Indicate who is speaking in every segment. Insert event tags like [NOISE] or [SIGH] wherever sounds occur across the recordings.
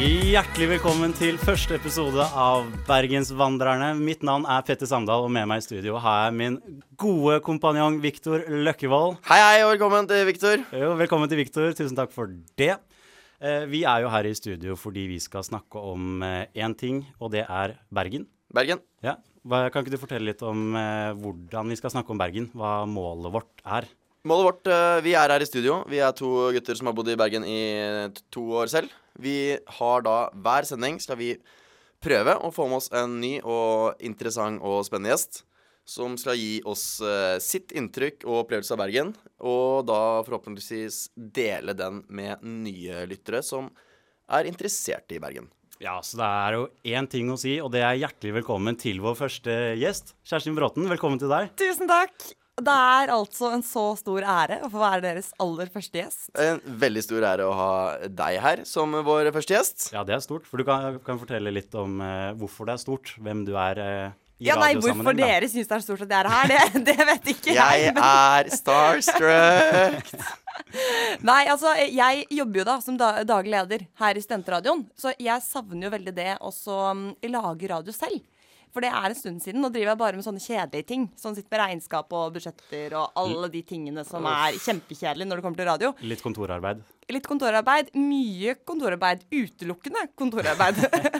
Speaker 1: Hjertelig velkommen til første episode av Bergensvandrerne. Mitt navn er Petter Samdal, og med meg i studio har jeg min gode kompanjong Viktor Løkkevold.
Speaker 2: Hei, hei, og velkommen til Viktor.
Speaker 1: Jo, velkommen til Viktor, tusen takk for det. Eh, Vi er jo her i studio fordi vi skal snakke om eh, én ting, og det er Bergen.
Speaker 2: Bergen.
Speaker 1: Ja. Hva, kan ikke du fortelle litt om eh, hvordan vi skal snakke om Bergen? Hva målet vårt er?
Speaker 2: Målet vårt eh, Vi er her i studio. Vi er to gutter som har bodd i Bergen i t- to år selv. Vi har da hver sending skal vi prøve å få med oss en ny og interessant og spennende gjest. Som skal gi oss eh, sitt inntrykk og opplevelse av Bergen. Og da forhåpentligvis dele den med nye lyttere som er interessert i Bergen.
Speaker 1: Ja, så det er jo én ting å si, og det er hjertelig velkommen til vår første gjest. Kjerstin Bråten, velkommen til deg.
Speaker 3: Tusen takk. Det er altså en så stor ære å få være deres aller første gjest.
Speaker 2: En veldig stor ære å ha deg her som vår første gjest.
Speaker 1: Ja, det er stort. For du kan, kan fortelle litt om eh, hvorfor det er stort, hvem du er eh, i
Speaker 3: Ja, nei,
Speaker 1: radiosammenheng.
Speaker 3: Hvorfor
Speaker 1: da.
Speaker 3: dere syns det er stort at jeg er her, det, [LAUGHS] det vet ikke
Speaker 2: Jeg
Speaker 3: jeg. Men,
Speaker 2: er starstruck.
Speaker 3: nei, altså, jeg jobber jo da som da, daglig leder her i Studentradioen, så jeg savner jo veldig det også um, lage radio selv. For det er en stund siden. Nå driver jeg bare med sånne kjedelige ting. Sånn sitter med regnskap og budsjetter og alle
Speaker 1: Mm.
Speaker 3: de tingene som er kjempekjedelige når det kommer til radio.
Speaker 1: Litt kontorarbeid.
Speaker 3: litt kontorarbeid. Mye kontorarbeid. Utelukkende kontorarbeid. [LAUGHS]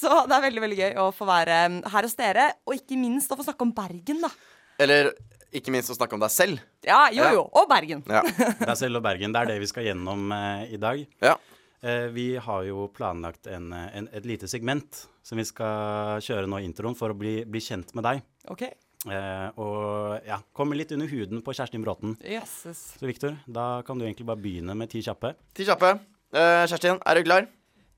Speaker 3: så det er veldig veldig gøy å få være um, her hos dere, og ikke minst å få snakke om Bergen, da.
Speaker 2: Eller ikke minst å snakke om deg selv.
Speaker 3: Ja, jo
Speaker 2: Ja.
Speaker 3: jo. Og Bergen.
Speaker 2: Ja.
Speaker 1: Det er selv og Bergen. Det er det vi skal gjennom eh, i dag.
Speaker 2: ja.
Speaker 1: Eh, vi har jo planlagt en, eh, en, et lite segment som vi skal kjøre nå i introen for å bli, bli kjent med deg.
Speaker 3: OK.
Speaker 1: Eh, og ja, komme litt under huden på Kjerstin Bråten.
Speaker 3: Jøsses.
Speaker 1: Så Viktor, da kan du egentlig bare begynne med ti kjappe.
Speaker 2: Ti kjappe. Eh, Kjerstin, er du klar?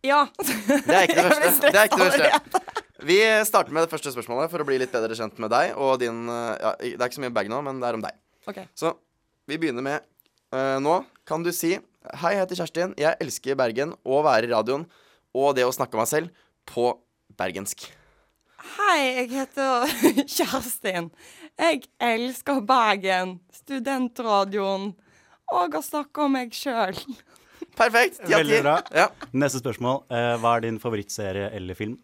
Speaker 3: Ja.
Speaker 2: Det er ikke det
Speaker 3: Jeg ble
Speaker 2: første. Det er ikke det
Speaker 3: stressa
Speaker 2: første. Vi starter med det første spørsmålet for å bli litt bedre kjent med deg og din eh, ja, Det er ikke så mye bag nå, men det er om deg.
Speaker 3: OK.
Speaker 2: Så vi begynner med eh, nå. Kan du si Hei, jeg heter Kjerstin. Jeg elsker Bergen og å være i radioen og det å snakke om meg selv på bergensk.
Speaker 3: Hei, jeg heter [LAUGHS] Kjerstin. Jeg elsker Bergen, studentradioen og å snakke om meg sjøl.
Speaker 2: Perfekt. Ti av ti.
Speaker 1: Veldig bra.
Speaker 2: Ja.
Speaker 1: Neste spørsmål. Eh, hva er din favorittserie eller film?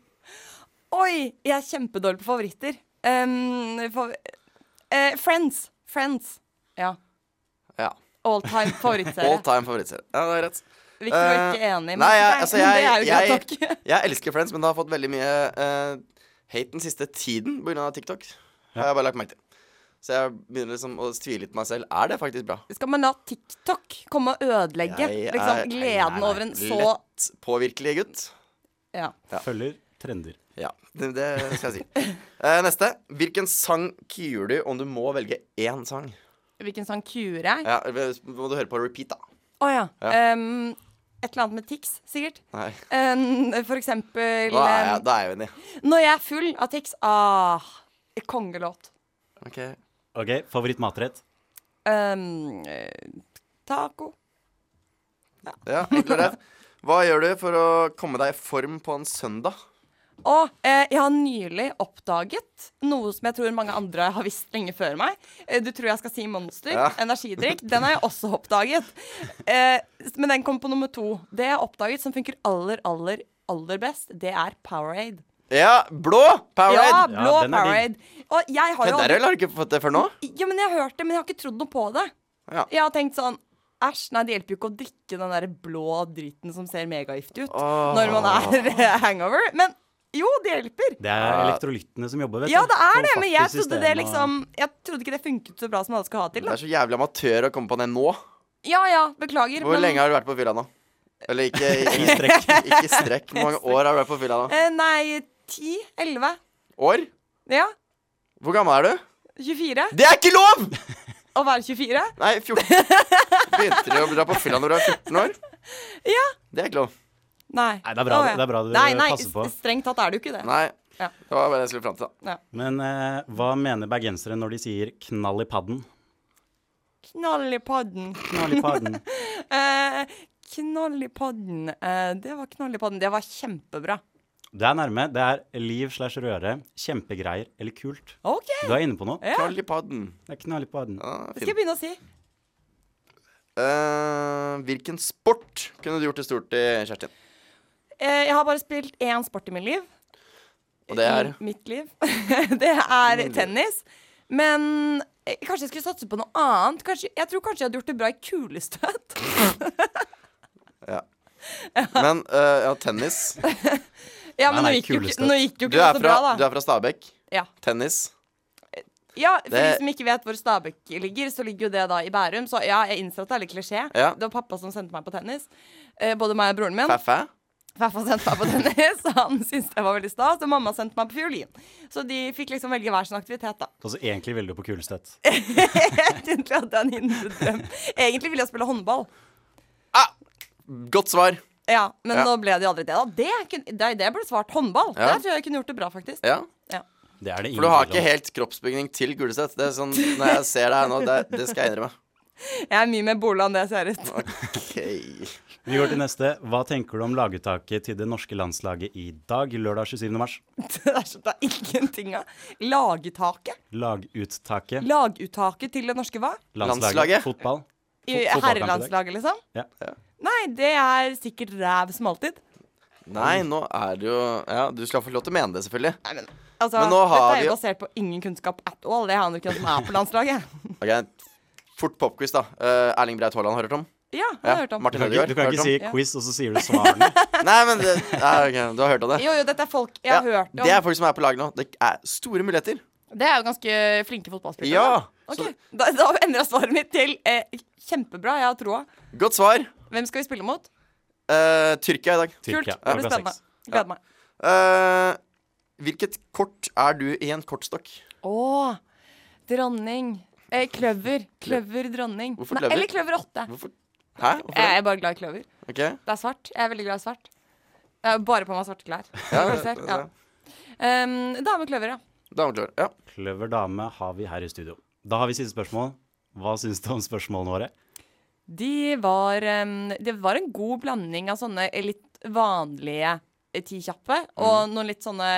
Speaker 3: Oi, jeg er kjempedårlig på favoritter. Um, fav eh, Friends. Friends. Ja.
Speaker 2: ja.
Speaker 3: All time favorittserie.
Speaker 2: All time favorittserie. Ja, det er rett.
Speaker 3: Victor var
Speaker 2: Eh,
Speaker 3: ikke enig, men,
Speaker 2: nei, jeg-
Speaker 3: nei,
Speaker 2: altså,
Speaker 3: men [LAUGHS] det
Speaker 2: jeg-
Speaker 3: er jo greit
Speaker 2: jeg-
Speaker 3: nok. [LAUGHS]
Speaker 2: [LAUGHS] Jeg elsker Friends, men det har fått veldig mye eh, hate den siste tiden pga. TikTok. Har jeg bare lagt merke til. Så jeg begynner liksom å tvile litt på meg selv. Er det faktisk bra?
Speaker 3: Skal man la TikTok komme og ødelegge
Speaker 2: Jeg
Speaker 3: liksom,
Speaker 2: er-
Speaker 3: gleden
Speaker 2: nei, nei,
Speaker 3: over en så
Speaker 2: Lett påvirkelig gutt.
Speaker 3: ja.
Speaker 2: Ja.
Speaker 1: Følger trender.
Speaker 2: Ja, det, det skal jeg
Speaker 3: [LAUGHS]
Speaker 2: si. Eh, neste. Hvilken sang kuer du om du må velge én sang?
Speaker 3: Hvilken sang kuer jeg? Å
Speaker 2: Ja, må du høre på repeat, da.
Speaker 3: ja.
Speaker 2: Ja.
Speaker 3: Um, et eller annet med Tix, sikkert.
Speaker 2: Nei.
Speaker 3: Um, for eksempel
Speaker 2: Da er jeg,
Speaker 3: um,
Speaker 2: da er jeg uenig.
Speaker 3: Når jeg er full av Tix. Ah, kongelåt.
Speaker 2: Ok.
Speaker 1: OK, favorittmatrett?
Speaker 3: Um, eh, taco.
Speaker 2: Ja, enkelt og greit. Hva gjør du for å komme deg i form på en søndag?
Speaker 3: Og eh, jeg har nylig oppdaget noe som jeg tror mange andre har visst lenge før meg. Eh, du tror jeg skal si Monster.
Speaker 2: Ja.
Speaker 3: Energidrikk. Den har jeg også oppdaget. Eh, men den kom på nummer to. Det jeg har oppdaget som funker aller, aller, aller best, det er Powerade.
Speaker 2: Ja, blå
Speaker 3: Ja,
Speaker 2: Powerade.
Speaker 3: blå
Speaker 1: den er digg.
Speaker 3: Powerade. Og jeg har
Speaker 2: Ja,
Speaker 3: jo
Speaker 2: der
Speaker 3: aldri
Speaker 2: har du ikke fått det før nå?
Speaker 3: Ja, men jeg har hørt det, men jeg har ikke trodd noe på det.
Speaker 2: Ja.
Speaker 3: Jeg har tenkt sånn Æsj, nei, det hjelper jo ikke å drikke den der blå driten som ser megagiftig ut
Speaker 2: Åh.
Speaker 3: når man er [LAUGHS] eh, hangover. Men jo, det hjelper.
Speaker 1: Det er elektrolyttene som jobber, vet
Speaker 3: Ja,
Speaker 1: du.
Speaker 3: det er sånn
Speaker 1: Får
Speaker 3: det, men jeg
Speaker 1: fatt i
Speaker 3: trodde det
Speaker 1: systemet og-
Speaker 3: liksom Jeg trodde ikke det funket så bra som alle skal ha til.
Speaker 2: Det
Speaker 3: Da.
Speaker 2: er så jævlig amatør å komme på det nå.
Speaker 3: Ja ja, beklager.
Speaker 2: Hvor
Speaker 3: men-
Speaker 2: lenge har du vært på fylla nå? Eller ikke,
Speaker 1: I
Speaker 2: ikke,
Speaker 1: strekk.
Speaker 2: [LAUGHS] ikke strekk. Hvor mange år har du vært på fylla nå?
Speaker 3: Eh, Nei, ti? Elleve?
Speaker 2: År?
Speaker 3: Ja?
Speaker 2: Hvor gammel er du?
Speaker 3: 24?
Speaker 2: Det er ikke lov!
Speaker 3: Å være 24?
Speaker 2: Nei, 14. Begynte du å dra på fylla når du var 14 år?
Speaker 3: Ja.
Speaker 2: Det er ikke lov.
Speaker 3: Nei.
Speaker 1: Nei, det er bra-
Speaker 3: Å, ja.
Speaker 1: det er bra du
Speaker 3: nei, nei,
Speaker 1: passer på.
Speaker 3: s- Strengt tatt er det jo ikke det.
Speaker 2: Nei.
Speaker 3: Ja.
Speaker 2: Det var bare det jeg skulle fram til, da.
Speaker 1: Men eh, hva mener bergensere når de sier 'knall i padden'?
Speaker 3: Knall i podden.
Speaker 1: Knall i
Speaker 3: [LAUGHS]
Speaker 1: padden.
Speaker 3: Eh, knall i podden. Eh, det var knall i podden. Det var kjempebra.
Speaker 1: Det er nærme. Det er liv slash røre. Kjempegreier eller kult.
Speaker 3: OK.
Speaker 1: Du er inne på noe.
Speaker 3: Ja.
Speaker 2: Knall i padden.
Speaker 1: Det er knall i padden.
Speaker 2: Ja,
Speaker 3: Det skal
Speaker 2: fin.
Speaker 3: jeg begynne å si.
Speaker 2: Eh, hvilken sport kunne du gjort det stort i, Kjerstin?
Speaker 3: Eh, jeg har bare spilt én sport i mitt liv.
Speaker 2: Og det er
Speaker 3: I mitt liv. [LAUGHS] det er tennis. Men eh, kanskje jeg skulle satse på noe annet. Kanskje, jeg tror kanskje jeg hadde gjort det bra i kulestøt. [LAUGHS] Mm.
Speaker 2: ja. Men eh, ja, tennis.
Speaker 3: Ja,
Speaker 1: Nei, nei,
Speaker 3: men nå gikk jo, ikke-
Speaker 1: kulestøt.
Speaker 3: nå gikk jo
Speaker 2: Du
Speaker 3: ikke
Speaker 2: er
Speaker 3: det så bra,
Speaker 2: fra, du
Speaker 3: da.
Speaker 2: er fra Stabekk.
Speaker 3: Ja.
Speaker 2: Tennis.
Speaker 3: ja, for
Speaker 2: Det-
Speaker 3: de som ikke vet hvor Stabekk ligger, så ligger jo det da i Bærum. Så ja, jeg innser at det er litt klisjé.
Speaker 2: Ja.
Speaker 3: Det var pappa som sendte meg på tennis. Eh, både meg og broren min.
Speaker 2: Fæ-fæ.
Speaker 3: Pappa sendte meg på tennis, [LAUGHS] og han syntes det var veldig stas. Og mamma sendte meg på fiolin. Så de fikk liksom velge hver sin aktivitet, da. [LAUGHS]
Speaker 1: Altså, egentlig ville du på kulestøtt.
Speaker 3: Egentlig hadde jeg en indre drøm. Egentlig ville jeg spille håndball.
Speaker 2: Ah! Godt svar.
Speaker 3: Ja, men
Speaker 2: Ja.
Speaker 3: nå ble det jo aldri det. da Det, kunne, det, det ble svart håndball.
Speaker 2: Ja.
Speaker 3: Der tror jeg jeg kunne gjort det bra, faktisk.
Speaker 2: Ja.
Speaker 3: Ja.
Speaker 1: Det er det ingen
Speaker 2: For du har
Speaker 1: tvil
Speaker 2: ikke
Speaker 1: om.
Speaker 2: helt kroppsbygning til Guleseth. Det er sånn, når jeg ser det her nå, det, det skal jeg
Speaker 3: [LAUGHS]
Speaker 2: innrømme.
Speaker 3: Jeg er mye mer bola enn det jeg ser ut.
Speaker 2: Ok
Speaker 1: Vi går til neste. Hva tenker du om laguttaket til det norske landslaget i dag, lørdag 27. mars?
Speaker 3: [LAUGHS] Det er så det er ingenting av. Laguttaket.
Speaker 1: Laguttaket.
Speaker 3: Laguttaket til det norske hva?
Speaker 1: Landslaget.
Speaker 2: Landslaget.
Speaker 1: Fotball.
Speaker 3: I
Speaker 1: Fot- fotballkamp i dag.
Speaker 3: herrelandslaget, liksom?
Speaker 1: Ja.
Speaker 3: Nei, det er sikkert ræv som alltid.
Speaker 2: Nei, nå er det jo Ja, du skal få lov til å mene det, selvfølgelig.
Speaker 3: Nei, men altså,
Speaker 2: Men nå har
Speaker 3: Dette er
Speaker 2: vi
Speaker 3: jo
Speaker 2: jo-
Speaker 3: basert på ingen kunnskap at all. Det aner jo ikke hvem som er på
Speaker 2: [LAUGHS]
Speaker 3: landslaget.
Speaker 2: Ok, Fort popquiz, da. Eh, Erling Breit Haaland har hørt
Speaker 3: [LAUGHS]
Speaker 2: om?
Speaker 3: Ja, jeg
Speaker 2: Ja,
Speaker 3: har hørt om.
Speaker 1: Du
Speaker 2: Martin
Speaker 1: kan ikke,
Speaker 2: Ødegaard.
Speaker 1: du kan
Speaker 2: hørt
Speaker 1: ikke
Speaker 2: om?
Speaker 1: si
Speaker 3: Ja.
Speaker 1: quiz, og så sier du
Speaker 3: [LAUGHS]
Speaker 1: svarene.
Speaker 2: Nei, men det, ja, ok, Du har hørt om det?
Speaker 3: Jo, jo, dette er folk jeg
Speaker 2: Ja,
Speaker 3: har hørt om.
Speaker 2: Det er folk som er på lag nå. Det er store muligheter.
Speaker 3: Det er jo ganske flinke fotballspillere.
Speaker 2: Ja!
Speaker 3: da. Ok,
Speaker 2: Så,
Speaker 3: da, da endra svaret mitt til eh, kjempebra, jeg har troa.
Speaker 2: godt svar.
Speaker 3: Hvem skal vi spille mot?
Speaker 2: Eh, Tyrkia i dag.
Speaker 3: Kult.
Speaker 1: Tyrkia.
Speaker 3: Det blir
Speaker 1: klokka
Speaker 3: spennende.
Speaker 1: seks.
Speaker 3: Gleder meg.
Speaker 2: Eh, hvilket kort er du i en kortstokk?
Speaker 3: Å, dronning. Eh, kløver. Kløver dronning.
Speaker 2: Hvorfor
Speaker 3: Nei,
Speaker 2: kløver?
Speaker 3: Eller kløver åtte.
Speaker 2: Hvorfor? Hæ? Hvorfor
Speaker 3: Jeg
Speaker 2: det?
Speaker 3: er bare glad i kløver.
Speaker 2: Ok.
Speaker 3: Det er svart. Jeg er veldig glad i svart. Jeg har bare på meg svarte klær.
Speaker 2: [LAUGHS] Ja,
Speaker 3: Hva ser, ja.
Speaker 2: ja.
Speaker 3: Um, Dame kløver, ja.
Speaker 2: Dameklar. Ja.
Speaker 1: Kløver dame har vi her i studio. Da har vi siste spørsmål. Hva syns du om spørsmålene våre?
Speaker 3: De var, em, det var en god blanding av sånne litt vanlige eh, ti kjappe, og noen litt sånne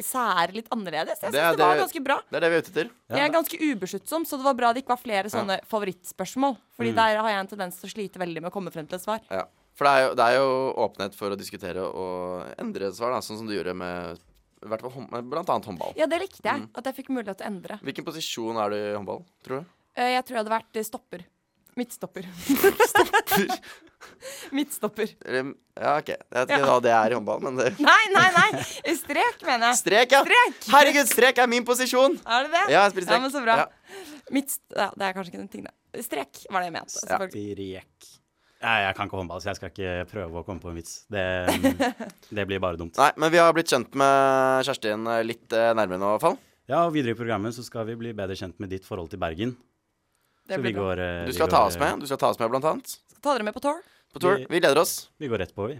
Speaker 3: sære, litt annerledes. Jeg
Speaker 2: Mm. Det
Speaker 3: syns det,
Speaker 2: er
Speaker 3: var
Speaker 2: det-
Speaker 3: ganske bra.
Speaker 2: Det er det vi er ute etter.
Speaker 1: Ja,
Speaker 3: Jeg er
Speaker 1: da-
Speaker 3: ganske ubesluttsom, så det var bra det ikke var flere sånne favorittspørsmål.
Speaker 2: Mm.
Speaker 3: Fordi der har jeg en tendens til å slite veldig med å komme frem til et svar.
Speaker 2: Ja. For det er, jo, det er jo åpenhet for å diskutere og endre svar, da, sånn som du gjorde med i hvert fall hånd- med blant annet håndball.
Speaker 3: Ja, det likte
Speaker 2: Mm.
Speaker 3: jeg. At jeg fikk mulighet til å endre.
Speaker 2: Hvilken posisjon er du i håndball, tror du?
Speaker 3: Eh, Jeg tror jeg hadde vært eh, stopper. Midtstopper. [LAUGHS] Midtstopper.
Speaker 2: Eller, ja, OK. Jeg vet ikke
Speaker 3: Ja.
Speaker 2: hva det er i håndball, men det
Speaker 3: Nei, nei, nei! Strek, mener jeg.
Speaker 2: Strek, ja!
Speaker 3: Strek!
Speaker 2: Herregud, strek er min posisjon!
Speaker 3: Er det det?
Speaker 2: Ja, jeg spiller strek.
Speaker 3: Ja, men så bra.
Speaker 2: Ja.
Speaker 3: Mitt, ja, det er kanskje ikke den ting, det. Strek var det jeg mente. selvfølgelig.
Speaker 1: Direk. Nei, jeg kan ikke håndball, så jeg skal ikke prøve å komme på en vits.
Speaker 3: [LAUGHS]
Speaker 1: Det, det blir bare dumt.
Speaker 2: Nei, men vi har blitt kjent med Kjerstin eh, litt eh, nærmere nå, i hvert fall.
Speaker 1: Ja, og Videre i programmet så skal vi bli bedre kjent med ditt forhold til Bergen.
Speaker 3: Det
Speaker 1: Så vi
Speaker 3: blir bra.
Speaker 1: går, eh,
Speaker 2: Du
Speaker 1: vi
Speaker 2: skal
Speaker 1: går,
Speaker 2: ta oss
Speaker 1: eh,
Speaker 2: med, du skal ta oss med blant annet
Speaker 3: Skal ta dere med på tour.
Speaker 2: på tur.
Speaker 1: Vi-
Speaker 2: Vi gleder oss.
Speaker 1: Vi går rett på, vi.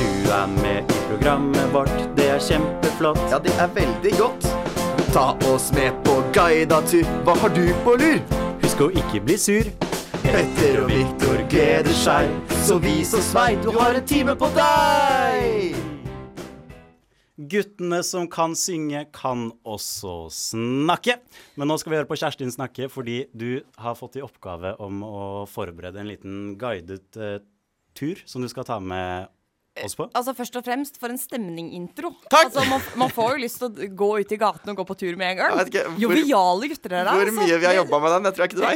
Speaker 1: Du er med i programmet vårt, det er kjempeflott.
Speaker 2: Ja, det er veldig godt. Ta oss med på guida tur. Hva har du på lur?
Speaker 1: Husk å ikke bli sur.
Speaker 2: Petter og Viktor gleder seg, så vis oss vei, du har en time på deg!
Speaker 1: Guttene som kan synge, kan også snakke. Men nå skal vi høre på Kjerstin snakke, fordi du har fått i oppgave om å forberede en liten guidet eh, tur som du skal ta med oss på.
Speaker 3: Altså Først og fremst for en stemningintro.
Speaker 2: Takk!
Speaker 3: Altså, man, man får jo lyst til å gå ut i gaten og gå på tur med en gang.
Speaker 2: Jeg vet ikke, hvor-
Speaker 3: Joviale gutter dere er. altså.
Speaker 2: Hvor mye vi har jobba med den, det tror jeg ikke du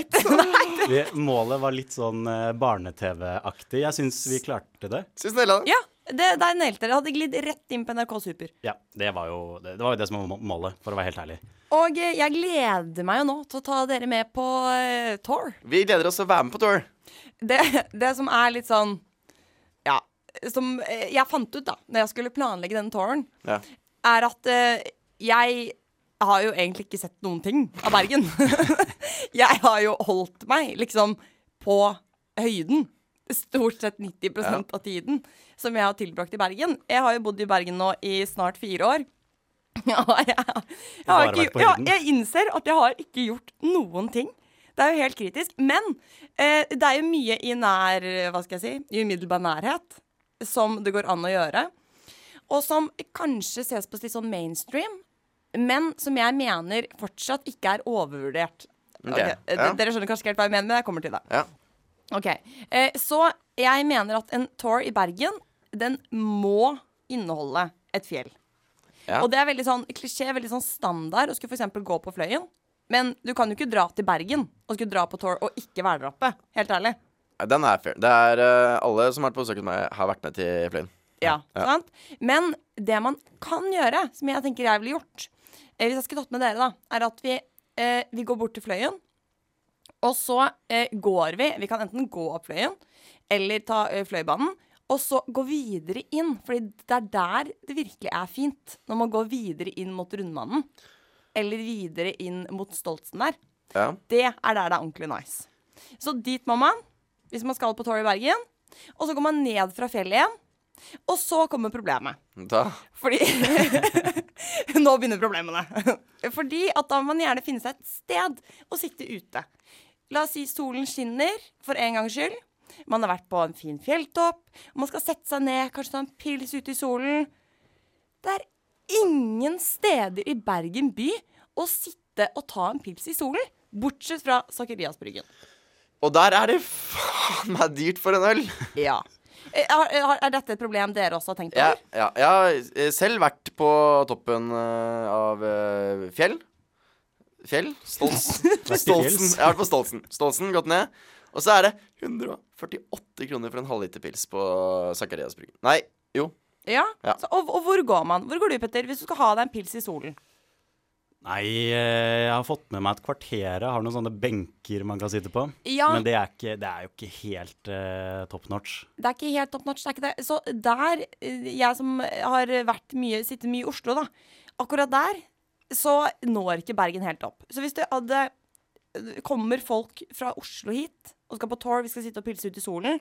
Speaker 2: [LAUGHS] veit.
Speaker 1: Vi, målet var litt sånn eh, barne-TV-aktig. Jeg syns vi klarte det.
Speaker 2: Syns Nella det?
Speaker 3: Ja, det, der nailte dere. Hadde glidd rett inn på NRK Super.
Speaker 1: Ja, det var jo det, det var jo det som var må- målet, for å være helt ærlig.
Speaker 3: Og eh, jeg gleder meg jo nå til å ta dere med på eh, tour.
Speaker 2: Vi gleder oss til å være med på tour.
Speaker 3: det, det som er litt sånn Ja, som eh, jeg fant ut da Når jeg skulle planlegge denne tåren
Speaker 2: Ja.
Speaker 3: Er at eh, jeg har jo egentlig ikke sett noen ting av Bergen [LAUGHS] Jeg har jo holdt meg liksom på høyden Stort sett 90% av tiden Som jeg har tilbrakt i Bergen Jeg har jo bodd i Bergen nå i snart fire år [LAUGHS] ja, jeg, jeg, har
Speaker 1: Bare
Speaker 3: ikke,
Speaker 1: vært på
Speaker 3: ja,
Speaker 1: høyden.
Speaker 3: jeg innser at jeg har ikke gjort noen ting. Det er jo helt kritisk. Men eh, det er jo mye i nær Hva skal jeg si? I umiddelbar nærhet som det går an å gjøre. Og som kanskje ses på litt sånn mainstream, men som jeg mener fortsatt ikke er overvurdert.
Speaker 2: Ok,
Speaker 3: Ok, eh,
Speaker 2: ja.
Speaker 3: Dere skjønner kanskje ikke helt hva jeg mener, men jeg kommer til det.
Speaker 2: Ja.
Speaker 3: Ok, eh, Så jeg mener at en tour i Bergen, den må inneholde et fjell.
Speaker 2: Ja.
Speaker 3: Og det er veldig sånn klisjé, veldig sånn standard å skulle f.eks. gå på Fløyen. Men du kan jo ikke dra til Bergen og skulle dra på tour og ikke være der oppe. Helt ærlig.
Speaker 2: Nei, Den er fair. Det er eh, Alle som har vært på besøk hos meg, har vært med til Fløyen.
Speaker 3: Ja,
Speaker 2: Ja.
Speaker 3: Sant? Men det man kan gjøre, som jeg tenker jeg ville gjort eh, Hvis jeg skulle tatt med dere, da, er at vi, eh, vi går bort til Fløyen. Og så eh, går vi Vi kan enten gå opp Fløyen eller ta eh, Fløibanen. Og så gå videre inn, Fordi det er der det virkelig er fint. Når man går videre inn mot Rundmannen. Eller videre inn mot Stoltsen der.
Speaker 2: Ja.
Speaker 3: Det er der det er ordentlig nice. Så dit må man hvis man skal på Torg i Bergen. Og så går man ned fra fjellet igjen. Og så kommer problemet.
Speaker 2: Da.
Speaker 3: Fordi [LAUGHS] Nå begynner problemene. [LAUGHS] Fordi at da må man gjerne finne seg et sted å sitte ute. La oss si solen skinner, for en gangs skyld. Man har vært på en fin fjelltopp. og Man skal sette seg ned, kanskje ta en pils ute i solen. Det er ingen steder i Bergen by å sitte og ta en pils i solen. Bortsett fra Sakariasbryggen.
Speaker 2: Og der er det faen meg dyrt for en øl!
Speaker 3: Ja. Er, eh, er, er dette et problem dere også har tenkt
Speaker 2: Ja,
Speaker 3: over?
Speaker 2: ja, jeg har eh, selv vært på toppen eh, av eh, fjell. Fjell? Stolts. Stoltsen. Jeg har vært på Stoltsen. Stoltsen, gått ned. Og så er det 148 kroner for en halvliter pils på Sakarias Brygge. Nei, jo.
Speaker 3: Ja.
Speaker 2: Ja.
Speaker 3: Så, og, og hvor går man? Hvor går du, Petter, hvis du skal ha deg en pils i solen?
Speaker 1: Nei, eh, jeg har fått med meg et kvarter. Jeg har noen sånne benker man kan sitte på.
Speaker 3: Ja.
Speaker 1: Men det er, ikke, det er jo ikke helt eh, top notch.
Speaker 3: Det er ikke helt top notch. Det er ikke det. Så der, eh, jeg som har vært mye, sittet mye i Oslo, da, akkurat der så når ikke Bergen helt opp. Så hvis det hadde eh, Kommer folk fra Oslo hit og skal på tour, vi skal sitte og pilse ut i solen,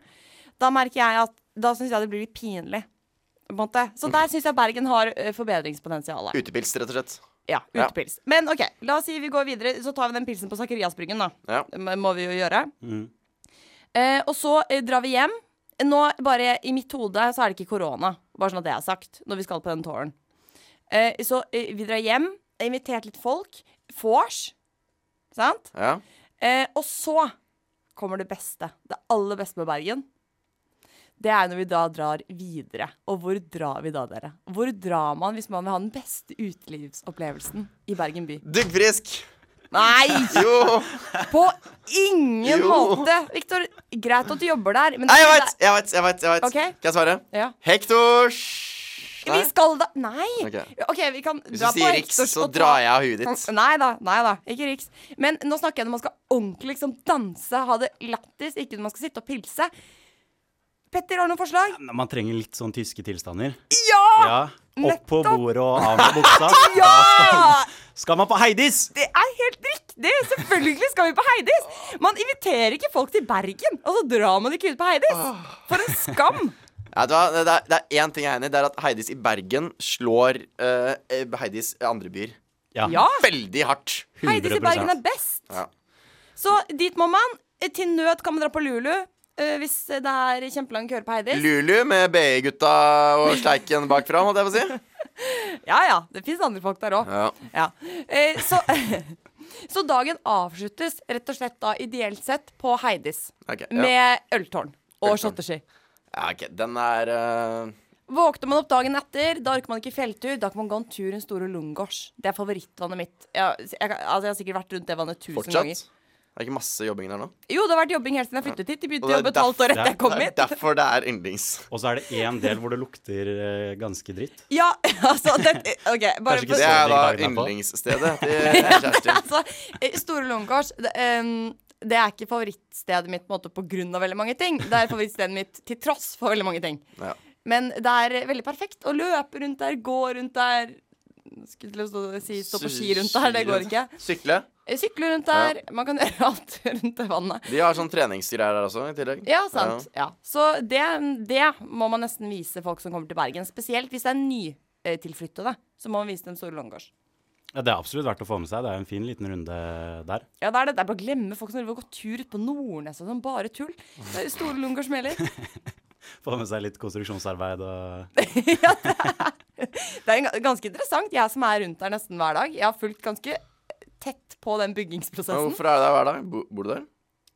Speaker 3: da merker jeg at Da syns jeg det blir litt pinlig. På en måte. Så der syns jeg Bergen har eh, forbedringspotensial.
Speaker 2: Utepils, rett og slett.
Speaker 3: Ja,
Speaker 2: Ja.
Speaker 3: utepils. Men OK, la oss si vi går videre. Så tar vi den pilsen på Sakariasbryggen, da.
Speaker 2: Ja.
Speaker 3: Det må- må vi jo gjøre.
Speaker 1: Mm.
Speaker 3: Eh, og så eh, drar vi hjem. Nå bare I mitt hode så er det ikke korona, bare sånn at det er sagt, når vi skal på den tåren. Eh, så eh, vi drar hjem, er invitert litt folk. Vors, sant?
Speaker 2: ja.
Speaker 3: Eh, og så kommer det beste. Det aller beste med Bergen. Det er når vi da drar videre. Og hvor drar vi da, dere? Hvor drar man hvis man vil ha den beste utelivsopplevelsen i Bergen by?
Speaker 2: Duggfrisk!
Speaker 3: Nei!
Speaker 2: Jo!
Speaker 3: [LAUGHS] På ingen
Speaker 2: Jo.
Speaker 3: måte! Victor, greit at du jobber der, men
Speaker 2: Nei, jeg veit! Jeg veit! Jeg vet, jeg vet.
Speaker 3: Ok.
Speaker 2: Kan jeg svare?
Speaker 3: Ja.
Speaker 2: Hektors!
Speaker 3: Vi skal da Nei!
Speaker 2: Ok.
Speaker 3: OK, vi kan
Speaker 2: Hvis
Speaker 3: dra
Speaker 2: du
Speaker 3: på
Speaker 2: sier Riks,
Speaker 3: Hectors
Speaker 2: så
Speaker 3: og ta-
Speaker 2: drar jeg av huet ditt.
Speaker 3: Nei da, nei da, ikke Riks. Men nå snakker jeg når man skal ordentlig liksom danse, ha det lættis, ikke når man skal sitte og pilse. Petter, har du noen forslag?
Speaker 1: Nei, Man trenger litt sånn tyske tilstander.
Speaker 3: Ja!
Speaker 1: Ja. Opp på
Speaker 3: nettopp.
Speaker 1: bordet og av med
Speaker 3: [LAUGHS]
Speaker 1: buksa. Da skal, skal man på Heidis!
Speaker 3: Det er helt riktig! Selvfølgelig skal vi på Heidis! Man inviterer ikke folk til Bergen, og så drar man ikke ut på Heidis! For en skam!
Speaker 2: Ja, vet du hva? Det, er, det er én ting jeg er enig i. Det er at Heidis i Bergen slår eh, eh, Heidis i andre byer [LAUGHS]
Speaker 3: Ja!
Speaker 2: veldig hardt.
Speaker 3: Heidis i
Speaker 1: 100%.
Speaker 3: Bergen er best.
Speaker 2: Ja.
Speaker 3: Så dit må man. Eh, Til nød kan man dra på Lulu eh, hvis det er kjempelang køer på Heidis.
Speaker 2: Lulu med BI-gutta og sleiken bakfra, holdt jeg på å si.
Speaker 3: Ja ja, det fins andre folk der òg.
Speaker 2: Ja.
Speaker 3: Ja. Eh, Så, [LAUGHS] så dagen avsluttes rett og slett da ideelt sett på Heidis.
Speaker 2: Ok, ja.
Speaker 3: Med øltårn og
Speaker 2: Øltårn.
Speaker 3: shotteski.
Speaker 2: ja, ok, den er eh,
Speaker 3: Våkner man opp dagen etter, da orker man ikke fjelltur. Da kan man gå en tur rundt Store Lungårds. Det er favorittvannet mitt. Jeg, jeg, altså, jeg har sikkert vært rundt det vannet tusen ganger.
Speaker 2: fortsatt. Det er ikke masse jobbing der nå.
Speaker 3: Jo, det har vært jobbing helt siden jeg flyttet hit. De
Speaker 2: Og
Speaker 3: begynte å
Speaker 2: det er
Speaker 3: jobbe et halvt år
Speaker 1: derfor-
Speaker 3: etter jeg
Speaker 2: [LAUGHS]
Speaker 3: kom
Speaker 2: Det er
Speaker 3: hit.
Speaker 2: derfor det er yndlings.
Speaker 3: [LAUGHS]
Speaker 1: Og så er det én del hvor det lukter eh, ganske dritt.
Speaker 3: Ja, [LAUGHS] altså det, OK, bare
Speaker 1: Kanskje ikke
Speaker 3: for-
Speaker 2: Det er da
Speaker 1: dagen derpå.
Speaker 2: yndlingsstedet
Speaker 3: [LAUGHS]
Speaker 2: til kjæresten.
Speaker 3: altså, eh, Store Lungegårds det, em, det er ikke favorittstedet mitt på, en måte, på grunn av veldig mange ting. Det er favorittstedet mitt til tross for veldig mange ting.
Speaker 2: Ja.
Speaker 3: Men det er veldig perfekt å løpe rundt der, gå rundt der. Skulle til å stå, si stå på ski rundt der, det går ikke.
Speaker 2: Sykle.
Speaker 3: Eh, Sykle rundt der. Man kan [LAUGHS] gjøre alt rundt det vannet.
Speaker 2: De har sånn treningsgreier der også, i tillegg.
Speaker 3: Ja, sant. Ja. Så det, det må man nesten vise folk som kommer til Bergen. Spesielt hvis det er nytilflyttede. Så må man vise dem Store Långårds.
Speaker 1: Ja, det er absolutt verdt å få med seg. Det er jo en fin liten runde der.
Speaker 3: Ja, det er det. Det er bare å glemme folk som driver og går tur ut på Nordnes og sånn. Bare tull. Det er Store Långårds smeller.
Speaker 1: Få med seg litt konstruksjonsarbeid
Speaker 3: [LAUGHS]
Speaker 1: og
Speaker 3: Det er en ga- ganske interessant. Jeg som er rundt der nesten hver dag, jeg har fulgt ganske tett på den
Speaker 2: Ja.
Speaker 3: byggingsprosessen.
Speaker 2: Hvorfor er du der hver dag? Bo- Bor du der?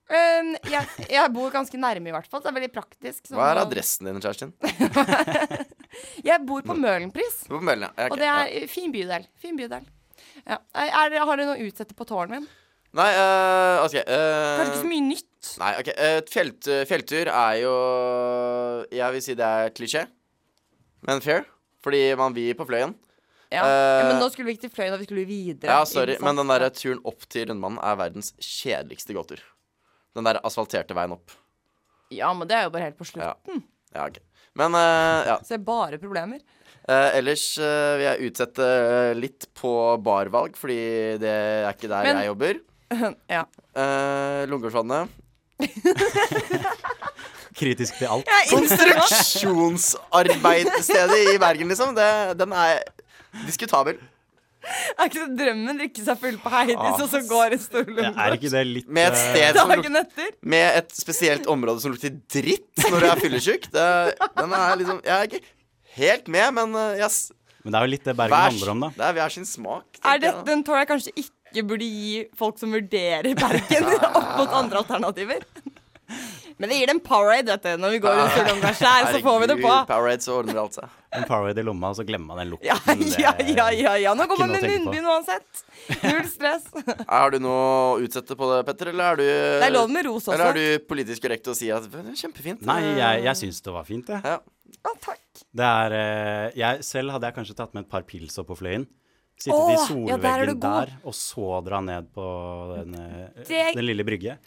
Speaker 3: Um, jeg, jeg bor ganske nærme, i hvert fall. Så det er veldig praktisk. sånn
Speaker 2: Hva er
Speaker 3: å-
Speaker 2: adressen din, Kjerstin?
Speaker 3: Jeg bor på Møhlenpris.
Speaker 2: På Møllene. Ja, ok,
Speaker 3: Og det
Speaker 2: ja.
Speaker 3: er eh, fin bydel. Fin bydel. Ja. Er, er, har dere noe å utsette på tårnet min?
Speaker 2: Nei, øh, OK. øh,
Speaker 3: Kanskje ikke så mye nytt.
Speaker 2: Nei, ok. eh, Fjelt, fjelltur er jo Jeg vil si det er klisjé, men fair. Fordi man vil på Fløyen.
Speaker 3: Ja.
Speaker 2: Eh,
Speaker 3: ja, Men nå skulle vi ikke til Fløyen, og vi skulle videre.
Speaker 2: Ja, sorry,
Speaker 3: ikke sant?
Speaker 2: men den der turen opp til Rundmannen er verdens kjedeligste gåtur. Den der asfalterte veien opp.
Speaker 3: Ja, men det er jo bare helt på slutt.
Speaker 2: Ja, ja ok. Men eh, ja.
Speaker 3: Så det er bare problemer. [LAUGHS]
Speaker 2: Eh, ellers eh, vil jeg utsette eh, litt på barvalg, fordi det er ikke der
Speaker 3: Men-
Speaker 2: jeg jobber.
Speaker 3: ja.
Speaker 2: Uh, Lungegårdsvannet.
Speaker 1: Kritisk til alt.
Speaker 3: Jeg innser det nå.
Speaker 2: Konstruksjonsarbeidsstedet i Bergen, liksom. Det, den er diskutabel.
Speaker 3: [LAUGHS] Er ikke det drømmen? Drikke seg full på Heidis,
Speaker 2: Ah.
Speaker 3: og så går en stor
Speaker 1: Ja, Er
Speaker 3: lunge
Speaker 1: ikke det litt
Speaker 2: Med et
Speaker 1: eh,
Speaker 2: sted som lukter
Speaker 3: [LAUGHS] dagen etter.
Speaker 2: Med et spesielt område som lukter dritt når du er fyllesyk. Det, den er liksom Jeg er ikke helt med, men uh, yes.
Speaker 1: eh, Men det er jo litt det Bergen
Speaker 2: Hver-
Speaker 1: handler om, da.
Speaker 2: Det er hver sin smak. tenker
Speaker 3: Er
Speaker 2: jeg da.
Speaker 3: dette en tår jeg kanskje ikke burde gi folk som
Speaker 1: [LAUGHS]
Speaker 3: vurderer Bergen, [LAUGHS] opp mot andre alternativer? [LAUGHS] Men det gir dem Powerade, vet du. Når vi
Speaker 1: [LAUGHS]
Speaker 3: går rundt Sørlandsverket her, så får vi det på.
Speaker 2: Herregud, Powerade, så ordner alt seg.
Speaker 1: En Powerade i lomma, og så glemmer man den lukten. eh.
Speaker 3: Ja,
Speaker 1: Det-
Speaker 3: ja, ja, ja, ja. Nå går
Speaker 1: Ikke
Speaker 3: man
Speaker 1: noe å
Speaker 3: med
Speaker 1: tenke på.
Speaker 3: munnbind uansett. Null
Speaker 1: [LAUGHS]
Speaker 3: stress.
Speaker 2: Har du noe å utsette på det, Petter, eller er du
Speaker 3: Det er lov med ros
Speaker 2: Eller
Speaker 3: også.
Speaker 2: er du politisk korrekt og sier at det er kjempefint?
Speaker 1: Nei, jeg, jeg syns det var fint, jeg.
Speaker 2: ja.
Speaker 3: Å, takk.
Speaker 1: Det er, eh, jeg. Selv hadde jeg kanskje tatt med et par pils opp på fløyen. Sittet i
Speaker 3: Åh, ja,
Speaker 1: solveggen
Speaker 3: der er
Speaker 1: der,
Speaker 3: du god.
Speaker 1: og så dra ned på den, eh,
Speaker 3: Det-
Speaker 1: den lille brygge.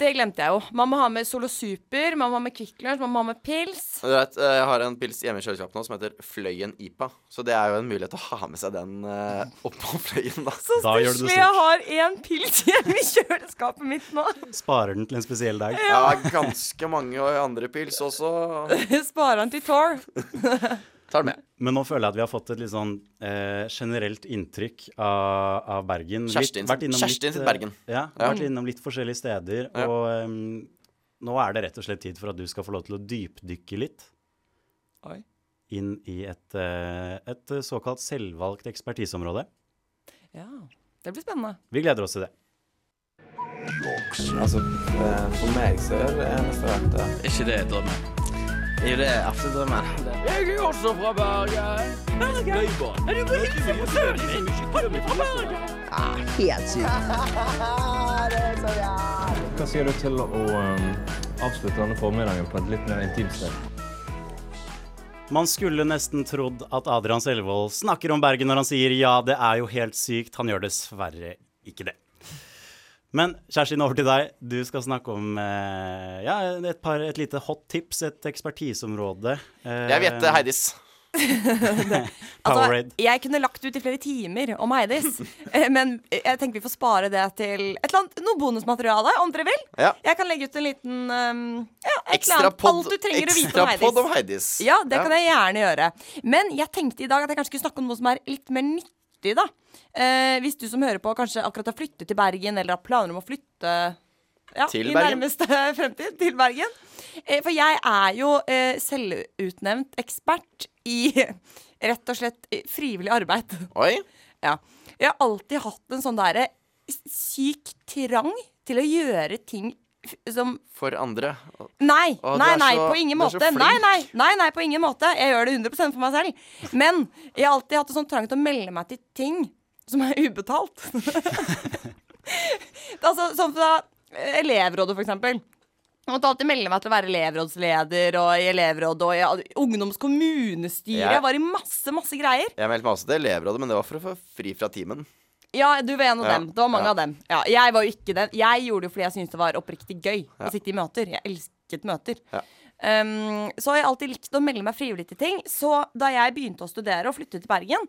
Speaker 3: Det glemte jeg jo. Man må ha med Solo Super, man må ha med Kvikk Lunsj, man må ha med pils.
Speaker 2: Du vet, eh, jeg har en pils hjemme i kjøleskapet nå som heter Fløyen IPA. Så det er jo en mulighet til å ha med seg den eh, opp på Fløyen, da.
Speaker 3: Så
Speaker 1: Da gjør du det
Speaker 3: stusslig. Jeg har én pils [LAUGHS] hjemme i kjøleskapet mitt nå.
Speaker 1: Sparer den til en spesiell dag.
Speaker 2: Ja, ganske mange andre pils også.
Speaker 3: [LAUGHS] Sparer han til Tor.
Speaker 2: Tar den med.
Speaker 1: Men nå føler jeg at vi har fått et litt sånn eh, generelt inntrykk av, av Bergen.
Speaker 2: Kjerstin- Kjerstin sitt
Speaker 1: eh,
Speaker 2: Bergen.
Speaker 1: Ja,
Speaker 2: Ja.
Speaker 1: vært innom litt forskjellige steder.
Speaker 2: Ja.
Speaker 1: Og em, nå er det rett og slett tid for at du skal få lov til å dypdykke litt
Speaker 3: Oi.
Speaker 1: inn i et, eh, et såkalt selvvalgt ekspertiseområde.
Speaker 3: Ja, det blir spennende.
Speaker 1: Vi gleder oss til det.
Speaker 4: Altså, eh, for meg så er det eneste rette
Speaker 5: ikke det drømmen? Jo, det er absolutt drømmen. Jeg er også fra Bergen. Bergen? Er du ikke fra Bergen? Kommer fra Bergen?
Speaker 4: Hva sier du til å eh, avslutte denne formiddagen på et litt mer intimt sted?
Speaker 1: Man skulle nesten trodd at Adrian Selvold snakker om Bergen når han sier ja, det er jo helt sykt. Han gjør dessverre ikke det. Men Kjerstin, over til deg. Du skal snakke om eh, ja, et, par, et lite hot tips, et ekspertiseområde. Eh,
Speaker 2: Jeg vet det, Heidis.
Speaker 1: Powerade.
Speaker 3: Altså, jeg kunne lagt ut i flere timer om Heidis, [LAUGHS] eh, men jeg tenker vi får spare det til et eller annet, noe bonusmateriale, om dere vil.
Speaker 2: Ja.
Speaker 3: Jeg kan legge ut en liten um, ja, et eller
Speaker 2: Ekstra
Speaker 3: annet.
Speaker 2: pod,
Speaker 3: Alt du trenger å vite
Speaker 2: ekstra
Speaker 3: om Heidis.
Speaker 2: pod om Heidis.
Speaker 3: Ja, det kan jeg gjerne gjøre. Men jeg tenkte i dag at jeg kanskje skulle snakke om noe som er litt mer nyttig, da. Eh, hvis du som hører på kanskje akkurat har flyttet til Bergen, eller har planer om å flytte ja,
Speaker 2: Til
Speaker 3: i
Speaker 2: Bergen.
Speaker 3: nærmeste [LAUGHS] fremtid til Bergen. Eh, for jeg er jo eh, selvutnevnt ekspert i [LAUGHS] rett og slett eh, frivillig arbeid. [LAUGHS]
Speaker 2: Oi.
Speaker 3: Ja. Jeg har alltid hatt en sånn derre syk trang til å gjøre ting f- som
Speaker 2: For andre.
Speaker 3: Nei,
Speaker 2: Å, du
Speaker 3: nei,
Speaker 2: er
Speaker 3: nei,
Speaker 2: så-
Speaker 3: på ingen
Speaker 2: du er så
Speaker 3: måte. Nei,
Speaker 2: flink.
Speaker 3: nei, nei, nei, på ingen måte. Jeg gjør det 100 for meg selv. Men jeg har alltid hatt en sånn trang til å melde meg til ting som er ubetalt. [LAUGHS] altså, sånn fra eh, elevrådet, for eksempel. Jeg måtte alltid melde meg til å være elevrådsleder og i elevrådet og i all- ungdomskommunestyret.
Speaker 2: Ja.
Speaker 3: Jeg var i masse, masse greier.
Speaker 2: Jeg meldte meg også til elevrådet, men det var for å få fri fra timen.
Speaker 3: Ja, du var en av
Speaker 2: Ja,
Speaker 3: dem. Det var mange
Speaker 2: ja.
Speaker 3: av dem. Ja, jeg var jo ikke den. Jeg gjorde det fordi jeg syntes det var oppriktig gøy å sitte i møter. Jeg elsket møter.
Speaker 2: Ja.
Speaker 3: Um, så har jeg alltid likt å melde meg frivillig til ting. Så da jeg begynte å studere og flytte til Bergen,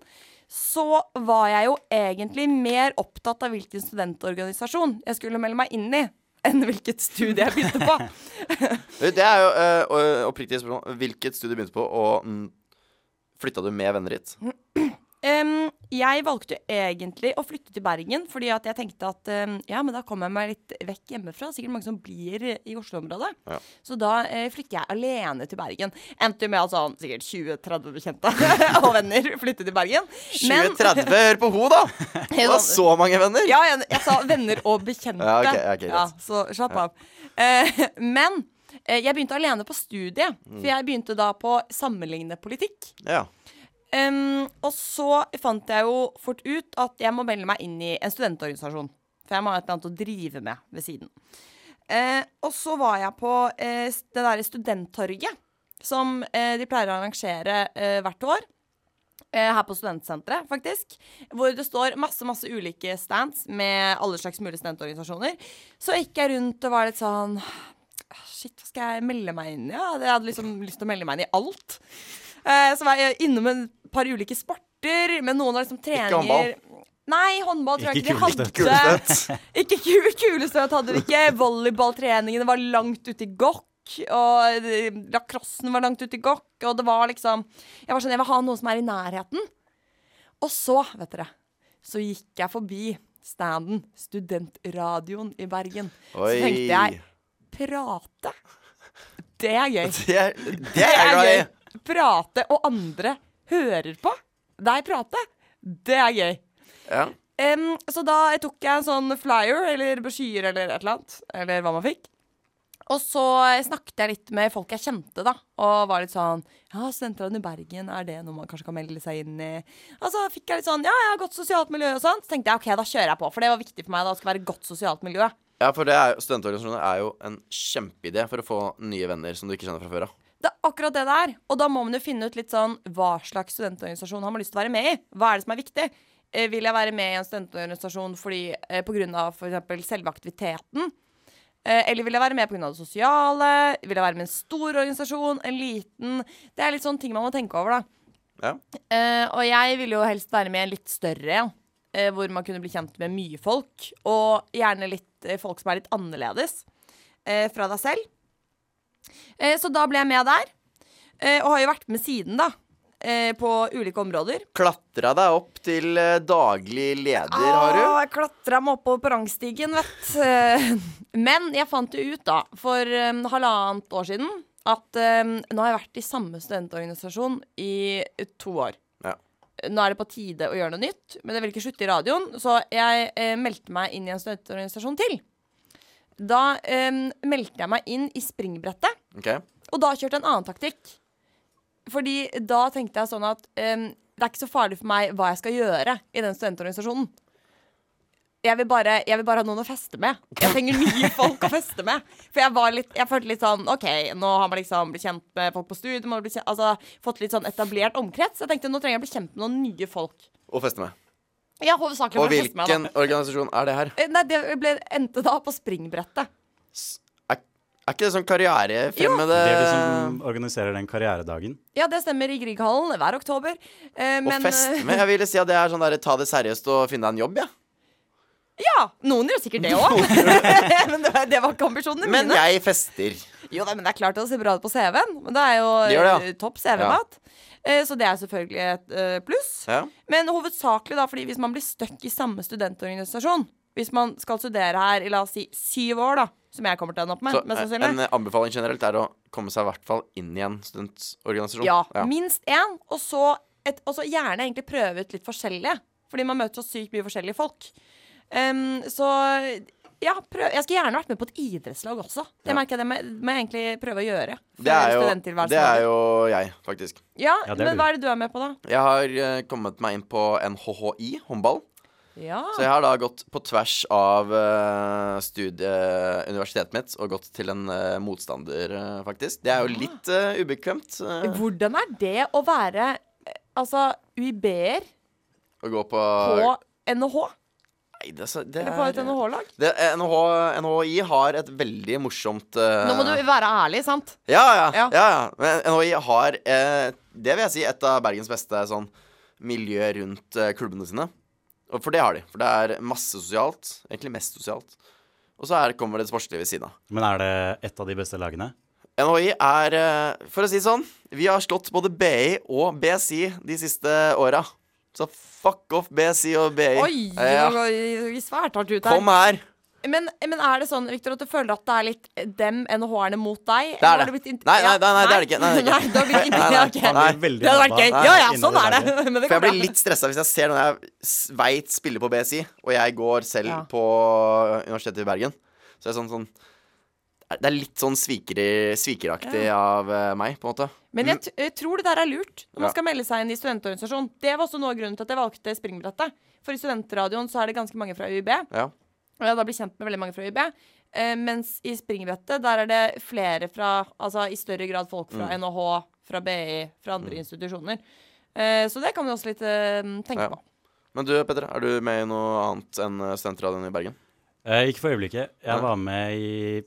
Speaker 3: så var jeg jo egentlig mer opptatt av hvilken studentorganisasjon jeg skulle melde meg inn i, enn hvilket studie jeg begynte
Speaker 2: [LAUGHS]
Speaker 3: på.
Speaker 2: Det er jo eh, å- oppriktig spørsmål. Hvilket studie begynte på, og mm, flytta du med venner hit?
Speaker 3: Em, jeg valgte jo egentlig å flytte til Bergen, fordi at jeg tenkte at em, ja, men da kommer jeg meg litt vekk hjemmefra. Sikkert mange som blir i Oslo-området.
Speaker 2: Ja.
Speaker 3: Så da eh, flytter jeg alene til Bergen. Endte jo med at sånn sikkert 20-30 bekjente [LAUGHS] og venner flyttet til Bergen. Men-
Speaker 2: 2030, hør på ho, da!
Speaker 3: [LAUGHS]
Speaker 2: Du har så mange venner!
Speaker 3: ja, jeg, jeg sa venner og bekjente.
Speaker 2: Ja, ok, ja, ok, greit.
Speaker 3: så slapp av. Eh, men eh, jeg begynte alene på studiet,
Speaker 2: Mm.
Speaker 3: for jeg begynte da på sammenlignende politikk.
Speaker 2: Ja.
Speaker 3: Em, og så fant jeg jo fort ut at jeg må melde meg inn i en studentorganisasjon. For jeg må ha et eller annet å drive med ved siden. Eh, og så var jeg på eh, s- det derre studenttorget som eh, de pleier å arrangere eh, hvert år. Eh, her på Studentsenteret, faktisk. Hvor det står masse masse ulike stands med alle slags mulige studentorganisasjoner. Så gikk jeg rundt og var litt sånn «Ah, Shit, hva skal jeg melde meg inn i? Ja, jeg hadde liksom lyst til å melde meg inn i alt. Eh, så var jeg innom et par ulike sporter, men noen har liksom treninger
Speaker 2: håndball.
Speaker 3: Nei, håndball tror jeg
Speaker 1: Ikke
Speaker 3: ikke de hadde.
Speaker 1: kulestøt.
Speaker 3: [LAUGHS] Ikke ku- kulestøt hadde vi ikke. Volleyballtreningene var langt ute i gokk. Og eh, lacrossen var langt ute i gokk. Og det var liksom Jeg var sånn, jeg vil ha noe som er i nærheten. Og så, vet dere, så gikk jeg forbi standen, studentradioen i Bergen. Så
Speaker 2: Oi.
Speaker 3: tenkte jeg prate. Det er gøy.
Speaker 2: Det er, det er jeg glad i!
Speaker 3: Prate, og andre hører på deg prate. Det er gøy.
Speaker 2: Ja.
Speaker 3: Em, så da tok jeg en sånn flyer, eller brosjyre, eller et eller annet. Eller hva man fikk. Og så snakket jeg litt med folk jeg kjente, da. Og var litt sånn Ja, Studentradioen i Bergen, er det noe man kanskje kan melde seg inn i? Og så fikk jeg litt sånn Ja, jeg har godt sosialt miljø og sånn. Så tenkte jeg OK, da kjører jeg på. For det var viktig for meg da, det skulle være et godt sosialt miljø.
Speaker 2: ja, for det er, jo- studentorganisasjoner er jo en kjempeidé for å få nye venner som du ikke kjenner fra før av.
Speaker 3: Det er akkurat det det er. Og da må man jo finne ut litt sånn hva slags studentorganisasjon har man lyst til å være med i. Hva er det som er viktig? Eh, vil jeg være med i en studentorganisasjon fordi, eh, på grunn av f.eks. selve aktiviteten? Eh, eller vil jeg være med pga. det sosiale? Vil jeg være med i en stor organisasjon? En liten? Det er litt sånne ting man må tenke over, da.
Speaker 2: Ja.
Speaker 3: Eh, og jeg ville jo helst være med i en litt større en. eh, hvor man kunne bli kjent med mye folk. Og gjerne litt eh, folk som er litt annerledes eh, fra deg selv. Eh, så da ble jeg med der. eh, og har jo vært med siden, da. eh, på ulike områder.
Speaker 2: Klatra deg opp til eh, daglig leder, har
Speaker 3: Åh,
Speaker 2: du?
Speaker 3: Jeg klatra meg oppover på rangstigen, vet Eh, Men jeg fant jo ut, da, for eh, halvannet år siden, at eh, nå har jeg vært i samme studentorganisasjon i to år.
Speaker 2: Ja.
Speaker 3: Nå er det på tide å gjøre noe nytt, men jeg vil ikke slutte i radioen, så jeg eh, meldte meg inn i en studentorganisasjon til. Da eh, meldte jeg meg inn i springbrettet.
Speaker 2: Ok.
Speaker 3: Og da kjørte jeg en annen taktikk. Fordi da tenkte jeg sånn at ehm, det er ikke så farlig for meg hva jeg skal gjøre i den studentorganisasjonen. Jeg vil, bare, jeg vil bare ha noen å feste med. Jeg trenger [LAUGHS] nye folk å feste med. For jeg, var litt, jeg følte litt sånn OK, nå har man liksom blitt kjent med folk på studiet, man har blitt kjent, altså, fått litt sånn etablert omkrets. Jeg tenkte nå trenger jeg å bli kjent med noen nye folk.
Speaker 2: Og feste med.
Speaker 3: Ja, hovedsakelig
Speaker 2: Og
Speaker 3: for å feste meg.
Speaker 2: hvilken
Speaker 3: da.
Speaker 2: organisasjon er det her?
Speaker 3: Eh, Nei, det ble, endte da på springbrettet.
Speaker 2: Er, er ikke det sånn karrierefremmede
Speaker 1: Det er de som organiserer den karrieredagen.
Speaker 3: Ja, det stemmer i Grieghallen hver oktober. Eh,
Speaker 2: Og
Speaker 3: men,
Speaker 2: feste med? Jeg ville si at det er sånn derre ta det seriøst og finne deg en jobb, jeg. Ja.
Speaker 3: Ja, noen gjør sikkert
Speaker 2: [LAUGHS]
Speaker 3: det òg. [LAUGHS] men det var, det var ikke ambisjonene
Speaker 2: Men
Speaker 3: mine.
Speaker 2: jeg fester.
Speaker 3: Jo, nei, men Det er klart det ser bra ut på CV-en. Men det er jo
Speaker 2: Det gjør det, ja.
Speaker 3: eh, topp CV-mat. Eh, Så det er selvfølgelig et eh, pluss.
Speaker 2: Ja.
Speaker 3: Men hovedsakelig da, fordi hvis man blir stuck i samme studentorganisasjon Hvis man skal studere her i la oss si syv år, da, som jeg kommer til å ende opp med
Speaker 2: Så
Speaker 3: mest
Speaker 2: eh,
Speaker 3: sannsynlig.
Speaker 2: en eh, anbefaling generelt er å komme seg i hvert fall inn i en studentorganisasjon.
Speaker 3: Ja, minst én, og så, et, og så gjerne egentlig prøve ut litt forskjellige. Fordi man møter så sykt mye forskjellige folk. Ehm, så ja, prøv, jeg skulle gjerne vært med på et idrettslag også. Det
Speaker 2: Ja.
Speaker 3: merker jeg det må, må jeg egentlig prøve å gjøre. før
Speaker 2: Det er, jo,
Speaker 3: studenttilværelsen
Speaker 2: det er
Speaker 3: over.
Speaker 2: jo jeg, faktisk.
Speaker 3: Ja,
Speaker 1: Ja, det er
Speaker 3: men
Speaker 1: du.
Speaker 3: hva er det du er med på, da?
Speaker 2: Jeg har eh, kommet meg inn på NHHI, håndball.
Speaker 3: Ja,
Speaker 2: Så jeg har da gått på tvers av eh, studie, universitetet mitt og gått til en eh, motstander, eh, faktisk. Det er
Speaker 3: Ah.
Speaker 2: jo litt eh, ubekvemt eh,
Speaker 3: Hvordan er det å være eh, altså UiB-er
Speaker 2: å gå på
Speaker 3: på NHH?
Speaker 2: Nei, det, er så- det
Speaker 3: Eller på et
Speaker 2: er-
Speaker 3: NHH-lag?
Speaker 2: Det, NH, NHI har et veldig morsomt eh,
Speaker 3: Nå må du være ærlig, sant?
Speaker 2: Ja, ja. ja.
Speaker 3: Ja.
Speaker 2: ja. Men NHI har, eh, det vil jeg si, et av Bergens beste sånn, miljø rundt eh, klubbene sine. Og for det har de. For det er masse sosialt. Egentlig mest sosialt. Og så er, kommer det sportslige ved siden av.
Speaker 1: Men er det et av de beste lagene?
Speaker 2: NHI er, eh, for å si det sånn, vi har slått både BI og BSI de siste åra. Så fuck off BSI og BI.
Speaker 3: Oi,
Speaker 2: Eh, Ja.
Speaker 3: det går svært hardt ut
Speaker 2: Kom
Speaker 3: her.
Speaker 2: her!
Speaker 3: Men, men er det sånn, Victor, at du føler at det er litt dem, NHR-ene, mot
Speaker 2: Det
Speaker 3: deg?
Speaker 2: er
Speaker 3: Eller har
Speaker 2: det.
Speaker 3: du blitt int-
Speaker 2: Nei, nei,
Speaker 3: Ja,
Speaker 2: nei, nei, det er det ikke. Nei, det er
Speaker 3: Nei,
Speaker 2: det ikke.
Speaker 3: du har blitt
Speaker 2: Nei, nei,
Speaker 3: internert.
Speaker 2: nei.
Speaker 3: Nei,
Speaker 1: Han blir veldig
Speaker 3: Det hadde vært
Speaker 1: labba
Speaker 3: gøy.
Speaker 2: Nei,
Speaker 3: Ja ja,
Speaker 1: inni
Speaker 3: sånn
Speaker 1: det
Speaker 3: er det.
Speaker 1: laget.
Speaker 3: Men det
Speaker 2: For jeg
Speaker 3: går
Speaker 2: blir
Speaker 3: bra.
Speaker 2: litt stressa hvis jeg ser noen jeg s- veit spiller på BSI, og jeg går selv
Speaker 3: Ja.
Speaker 2: på Universitetet i Bergen. Så det er sånn, sånn Det er litt sånn svikeri, svikeraktig av eh, meg, på en måte.
Speaker 3: Men jeg, t jeg tror det der er lurt når man
Speaker 2: Ja.
Speaker 3: skal melde seg inn i studentorganisasjon. Det var også noe av grunnen til at jeg valgte springbrettet. For i studentradioen så er det ganske mange fra UiB.
Speaker 2: Ja.
Speaker 3: Og jeg har da blitt kjent med veldig mange fra UiB. Eh, mens i springbrettet der er det flere fra Altså i større grad folk
Speaker 2: Mm.
Speaker 3: fra NHH, fra BI, fra andre institusjoner. Eh, så det kan vi også litt eh, tenke
Speaker 2: Ja.
Speaker 3: på.
Speaker 2: Men du Petter, er du med i noe annet enn eh, Studentradioen i Bergen?
Speaker 1: Eh, ikke for øyeblikket. Jeg
Speaker 2: Nei.
Speaker 1: var med i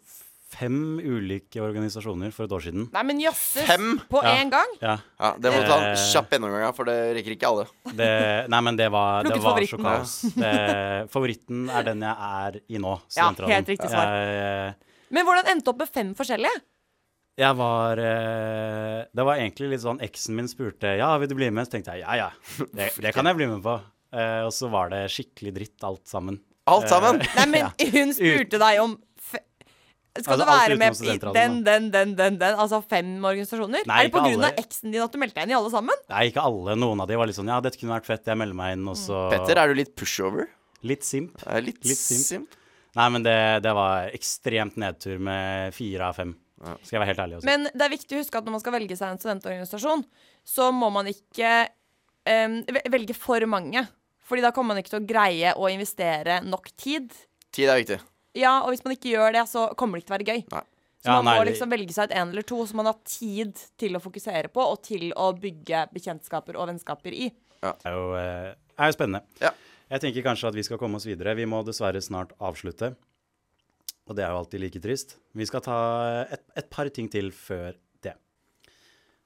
Speaker 1: fem ulike organisasjoner for et år siden.
Speaker 3: Nei, men jøsses!
Speaker 2: Fem?
Speaker 3: På
Speaker 1: Ja.
Speaker 3: én gang?
Speaker 1: Ja,
Speaker 2: Ja, Det må du ta en
Speaker 1: Eh.
Speaker 2: kjapp gjennomgang av, for det rekker ikke alle.
Speaker 1: det, nei, men det var, det
Speaker 3: Plukket
Speaker 1: var så
Speaker 3: favoritten.
Speaker 1: kaos. Det, favoritten er den jeg er i nå.
Speaker 3: Ja,
Speaker 1: studentradioen.
Speaker 3: helt riktig svar.
Speaker 1: Jeg,
Speaker 3: Men hvordan endte opp med fem forskjellige?
Speaker 1: jeg var eh, Det var egentlig litt sånn eksen min spurte Ja, vil du bli med? Så tenkte jeg ja, ja. Det, det kan jeg bli med på. Eh, og så var det skikkelig dritt alt sammen.
Speaker 2: Alt sammen!
Speaker 1: [LAUGHS]
Speaker 3: Nei, men hun spurte deg om fe Skal
Speaker 1: Altså,
Speaker 3: du
Speaker 1: alt
Speaker 3: være
Speaker 1: utenom
Speaker 3: med i den,
Speaker 1: studentradioen,
Speaker 3: den, den, den, den? Altså fem organisasjoner?
Speaker 1: Nei,
Speaker 3: er det på
Speaker 1: ikke
Speaker 3: grunn av
Speaker 1: alle.
Speaker 3: eksen din at du meldte deg inn i alle sammen?
Speaker 1: Nei, ikke alle. Noen av de var litt sånn ja, dette kunne vært fett, jeg melder meg inn. Og så
Speaker 2: Mm. Petter, er du litt pushover?
Speaker 1: litt simp.
Speaker 2: Eh, Litt,
Speaker 1: Litt simp.
Speaker 2: simp?
Speaker 1: Nei, men det, det var ekstremt nedtur med fire av fem. Skal jeg være helt ærlig også.
Speaker 3: Men det er viktig å huske at når man skal velge seg en studentorganisasjon, så må man ikke em, ve- velge for mange. Fordi da kommer man ikke til å greie å investere nok tid.
Speaker 2: Tid er viktig.
Speaker 3: Ja, og hvis man ikke gjør det, så kommer det ikke til å være gøy.
Speaker 2: Nei.
Speaker 3: Så
Speaker 1: Ja,
Speaker 3: man
Speaker 1: nei,
Speaker 3: må
Speaker 1: vi-
Speaker 3: liksom velge seg ut én eller to som man har tid til å fokusere på, og til å bygge bekjentskaper og vennskaper i.
Speaker 1: Det er jo, eh, er jo spennende.
Speaker 2: Ja.
Speaker 1: Jeg tenker kanskje at vi skal komme oss videre. Vi må dessverre snart avslutte. Og det er jo alltid like trist. Vi skal ta et, et par ting til før det.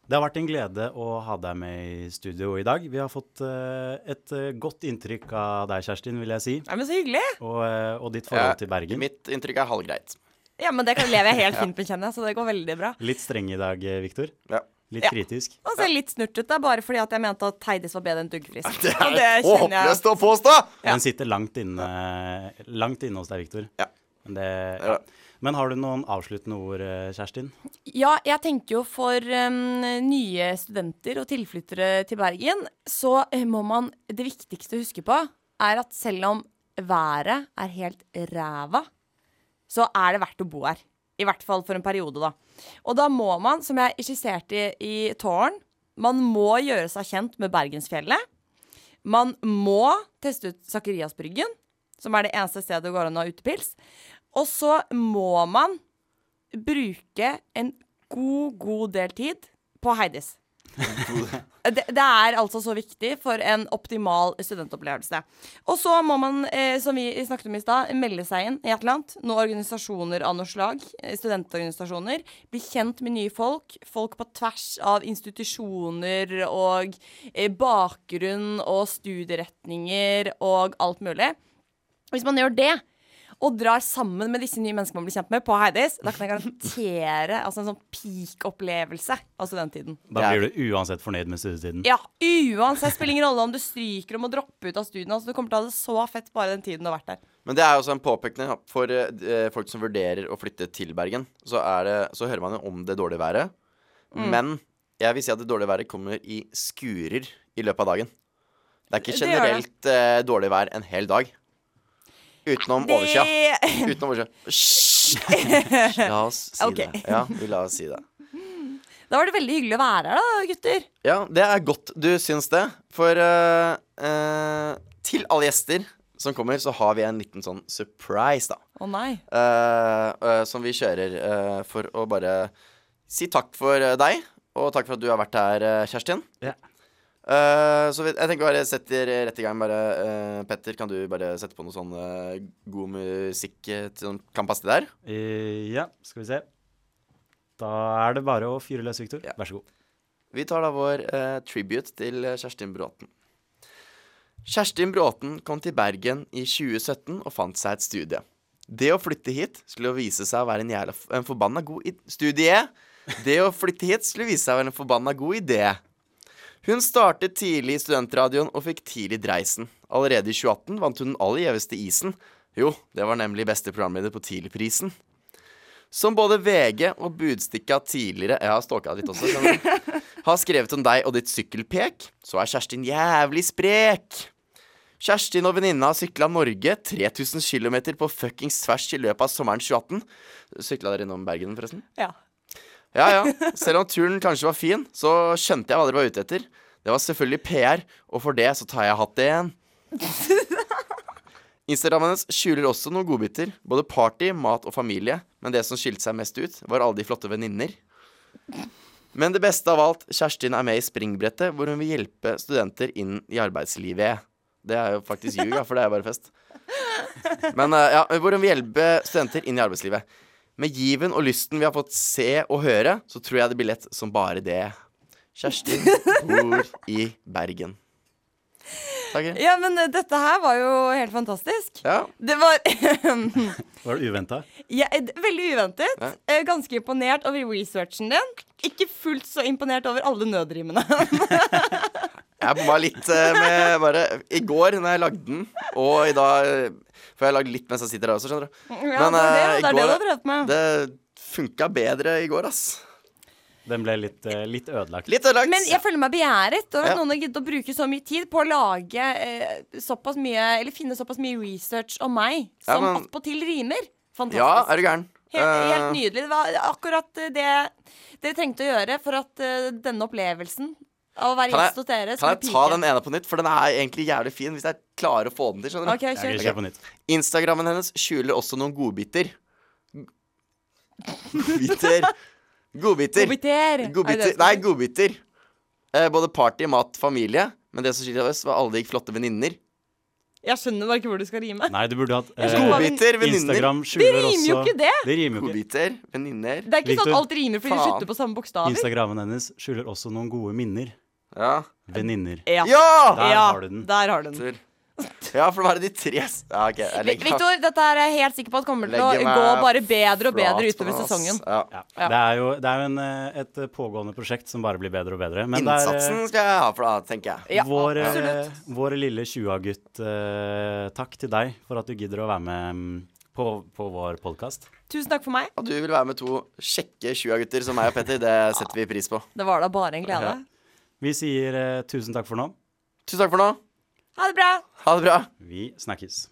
Speaker 1: Det har vært en glede å ha deg med i studio i dag. Vi har fått eh, et eh, godt inntrykk av deg, Kjerstin, vil jeg si.
Speaker 3: Nei, men så hyggelig!
Speaker 1: Og, eh, og ditt
Speaker 2: Ja,
Speaker 1: forhold til Bergen.
Speaker 2: Mitt inntrykk er halvgreit.
Speaker 3: Ja, men det kan lever jeg helt fint med, kjenner jeg, så det går veldig bra.
Speaker 1: Litt streng i dag, eh, Victor.
Speaker 2: Ja.
Speaker 1: Litt
Speaker 3: Ja.
Speaker 1: kritisk.
Speaker 3: Og så er jeg litt snurt ut, da, bare fordi at jeg mente at Heidis var bedre enn Duggfrisk.
Speaker 2: [LAUGHS] Det
Speaker 3: Og
Speaker 2: er
Speaker 3: det kjenner jeg.
Speaker 2: håpløst å påstå!
Speaker 3: Ja.
Speaker 1: Den sitter langt inne, langt inne hos deg, Victor.
Speaker 2: Ja.
Speaker 1: Men, det,
Speaker 2: Ja.
Speaker 1: ja. Men har du noen avsluttende ord, eh, Kjerstin?
Speaker 3: Ja, jeg tenker jo for em, nye studenter og tilflyttere til Bergen, så eh, må man Det viktigste å huske på er at selv om været er helt ræva, så er det verdt å bo her. I hvert fall for en periode, da. Og da må man, som jeg skisserte i, i tårn, man må gjøre seg kjent med Bergensfjellet. Man må teste ut Sakariasbryggen, som er det eneste stedet det går an å ha utepils. Og så må man bruke en god, god del tid på Heidis. Det, det er altså så viktig for en optimal studentopplevelse. Og så må man, eh, som vi snakket om i stad, melde seg inn i et eller annet. Noen organisasjoner av noe slag. eh, Studentorganisasjoner. Bli kjent med nye folk. Folk på tvers av institusjoner og eh, bakgrunn og studieretninger og alt mulig. Hvis man gjør det, og drar sammen med disse nye menneskene man blir kjent med på Heidis, da kan jeg garantere altså, en sånn peak-opplevelse av studenttiden.
Speaker 1: Da
Speaker 2: Jeg-
Speaker 1: blir du uansett fornøyd med studietiden.
Speaker 3: Ja, uansett spiller ingen rolle om du stryker og må droppe ut av studiene. Altså, du kommer til å ha det så fett bare den tiden du har vært der.
Speaker 2: Men det er jo også en påpekning da. for eh, d- eh, folk som vurderer å flytte til Bergen. Så, er det, så hører man jo om det dårlige været.
Speaker 3: Mm.
Speaker 2: Men jeg vil si at det dårlige været kommer i skurer i løpet av dagen. Det er ikke
Speaker 3: Det gjør det.
Speaker 2: generelt eh, dårlig vær en hel dag. Utenom overskya.
Speaker 3: Ah, Det... [LAUGHS]
Speaker 2: Utenom overskya. Hysj! La oss si
Speaker 3: Ok.
Speaker 2: det. Ja, vi la oss si det.
Speaker 3: Da var det veldig hyggelig å være her, da, gutter.
Speaker 2: Ja, det er godt du syns det. For eh, eh, til alle gjester som kommer, så har vi en liten sånn surprise, da.
Speaker 3: Å nei.
Speaker 2: eh, eh, som vi kjører eh, for å bare si takk for eh, deg, og takk for at du har vært her, eh, Kjerstin.
Speaker 1: Ja.
Speaker 2: Eh, så vi, jeg tenker bare setter rett i gang. Bare, eh, Petter, kan du bare sette på noe sånn eh, god musikk eh, til- som kan passe til der?
Speaker 1: Eh, ja, skal vi se. Da er det bare å fyre løs, Victor.
Speaker 2: Ja.
Speaker 1: Vær så god.
Speaker 2: Vi tar da vår eh, tribute til eh, Kjerstin Bråten. Kjerstin Bråten kom til Bergen i 2017 og fant seg et studie. Det å flytte hit skulle jo vise seg å være en, jævla, f- en forbanna god i- studie. Det å flytte hit skulle vise seg å være en forbanna god idé. Hun startet tidlig i studentradioen og fikk tidlig dreisen. Allerede i 2018 vant hun den aller gjeveste isen. Jo, det var nemlig beste programleder på Tidligprisen. Som både VG og Budstikka tidligere Jeg har stalka litt også, skjønner du. Har skrevet om deg og ditt sykkelpek, så er Kjerstin jævlig sprek. Kjerstin og venninna har sykla Norge 3000 km på fuckings tvers i løpet av sommeren 2018. Sykla dere innom Bergen, forresten?
Speaker 3: Ja.
Speaker 2: Ja, ja. Selv om turen kanskje var fin, så skjønte jeg hva dere var ute etter. Det var selvfølgelig PR, og for det så tar jeg hatt det igjen. Instagrammen hennes skjuler også noen godbiter. Både party, mat og familie. Men det som skilte seg mest ut, var alle de flotte venninner. Men det beste av alt, Kjerstin er med i Springbrettet, hvor hun vil hjelpe studenter inn i arbeidslivet. Det er jo faktisk ljug, da, for det er jo bare fest. Men eh, ja, hvor hun vil hjelpe studenter inn i arbeidslivet. Med given og lysten vi har fått se og høre, så tror jeg det blir lett som bare det. Kjerstin bor i Bergen. Takk.
Speaker 3: ja, men eh, dette her var jo helt fantastisk.
Speaker 2: Ja.
Speaker 3: Det var [LAUGHS]
Speaker 1: Var det uventa?
Speaker 3: ja, d- veldig uventet.
Speaker 2: Ja.
Speaker 3: eh, Ganske imponert over researchen din. Ikke fullt så imponert over alle nødrimene.
Speaker 2: Jeg bomma litt eh, med bare I går når jeg lagde den, og i dag eh, For jeg har lagd litt mens jeg sitter her også, skjønner du.
Speaker 3: Ja,
Speaker 2: Men,
Speaker 3: det er
Speaker 2: eh,
Speaker 3: det, det, er det
Speaker 2: går-
Speaker 3: du har prøvd med.
Speaker 2: Det funka bedre i går, ass.
Speaker 1: Den ble litt, eh, litt ødelagt.
Speaker 2: Litt ødelagt.
Speaker 3: Men jeg føler meg begjæret over at
Speaker 2: Ja.
Speaker 3: noen har giddet å bruke så mye tid på å lage eh, såpass mye Eller finne såpass mye research om meg
Speaker 2: Ja,
Speaker 3: som
Speaker 2: men-
Speaker 3: attpåtil rimer. Fantastisk.
Speaker 2: Ja, er du gæren?
Speaker 3: helt, helt
Speaker 2: Eh,
Speaker 3: nydelig. Det var akkurat eh, det dere trengte å gjøre for at eh, denne opplevelsen av å være
Speaker 2: Kan jeg-
Speaker 3: gjest hos
Speaker 2: Kan
Speaker 3: dere skulle
Speaker 2: jeg ta den ene på nytt? For den er egentlig jævlig fin. Hvis jeg klarer å få den til, skjønner du.
Speaker 3: OK,
Speaker 1: Jeg vil
Speaker 3: kjør.
Speaker 1: kjøre på nytt.
Speaker 2: Instagrammen hennes skjuler også noen godbiter. Godbiter.
Speaker 3: [LAUGHS]
Speaker 2: Godbiter.
Speaker 3: Godbiter.
Speaker 2: godbiter. Nei, godbiter. Eh, både party, mat, familie. Men det som skilte oss, var alle de flotte venninner.
Speaker 3: Jeg skjønner bare ikke hvor du skal rime.
Speaker 1: Nei, du burde hatt eh,
Speaker 3: skjønner hva
Speaker 2: Godbiter, venninner.
Speaker 1: Instagram skjuler
Speaker 3: rimer
Speaker 1: også
Speaker 3: jo ikke det.
Speaker 1: Det rimer jo ikke.
Speaker 2: Godbiter, venninner.
Speaker 3: Det er ikke sånn
Speaker 1: Victor,
Speaker 3: at alt rimer fordi de
Speaker 2: faen.
Speaker 3: slutter på samme bokstaver.
Speaker 1: Instagrammen hennes skjuler også noen gode minner.
Speaker 2: Ja.
Speaker 1: Venninner.
Speaker 3: Ja.
Speaker 2: Ja!
Speaker 1: Der
Speaker 3: ja,
Speaker 1: har du den.
Speaker 3: Der har du den.
Speaker 2: Tur. Ja, for nå er det de tre s- Ja, OK. Jeg legger meg-
Speaker 3: Victor, dette er jeg helt sikker på at kommer til å
Speaker 2: legger meg
Speaker 3: gå bare bedre og
Speaker 2: flat
Speaker 3: bedre
Speaker 2: på
Speaker 3: utover
Speaker 2: den, ass.
Speaker 3: sesongen.
Speaker 2: Ja.
Speaker 1: Ja.
Speaker 3: Ja.
Speaker 1: Det er jo, det er jo en, eh, et pågående prosjekt som bare blir bedre og bedre. Men det er, eh,
Speaker 2: Innsatsen skal jeg ha for deg, tenker jeg.
Speaker 3: Ja,
Speaker 1: vår, eh,
Speaker 3: absolutt.
Speaker 1: vår lille 20-gutt, eh, takk til deg for at du gidder å være med mm, på, på vår podkast.
Speaker 3: Tusen takk for meg.
Speaker 2: At du vil være med to kjekke tjua-gutter som meg og Petter, det setter vi pris på.
Speaker 3: Det var da bare en glede.
Speaker 1: Vi sier eh, tusen takk for nå.
Speaker 2: Tusen takk for nå.
Speaker 3: Ha det bra!
Speaker 2: Ha det bra.
Speaker 1: Vi snakkes.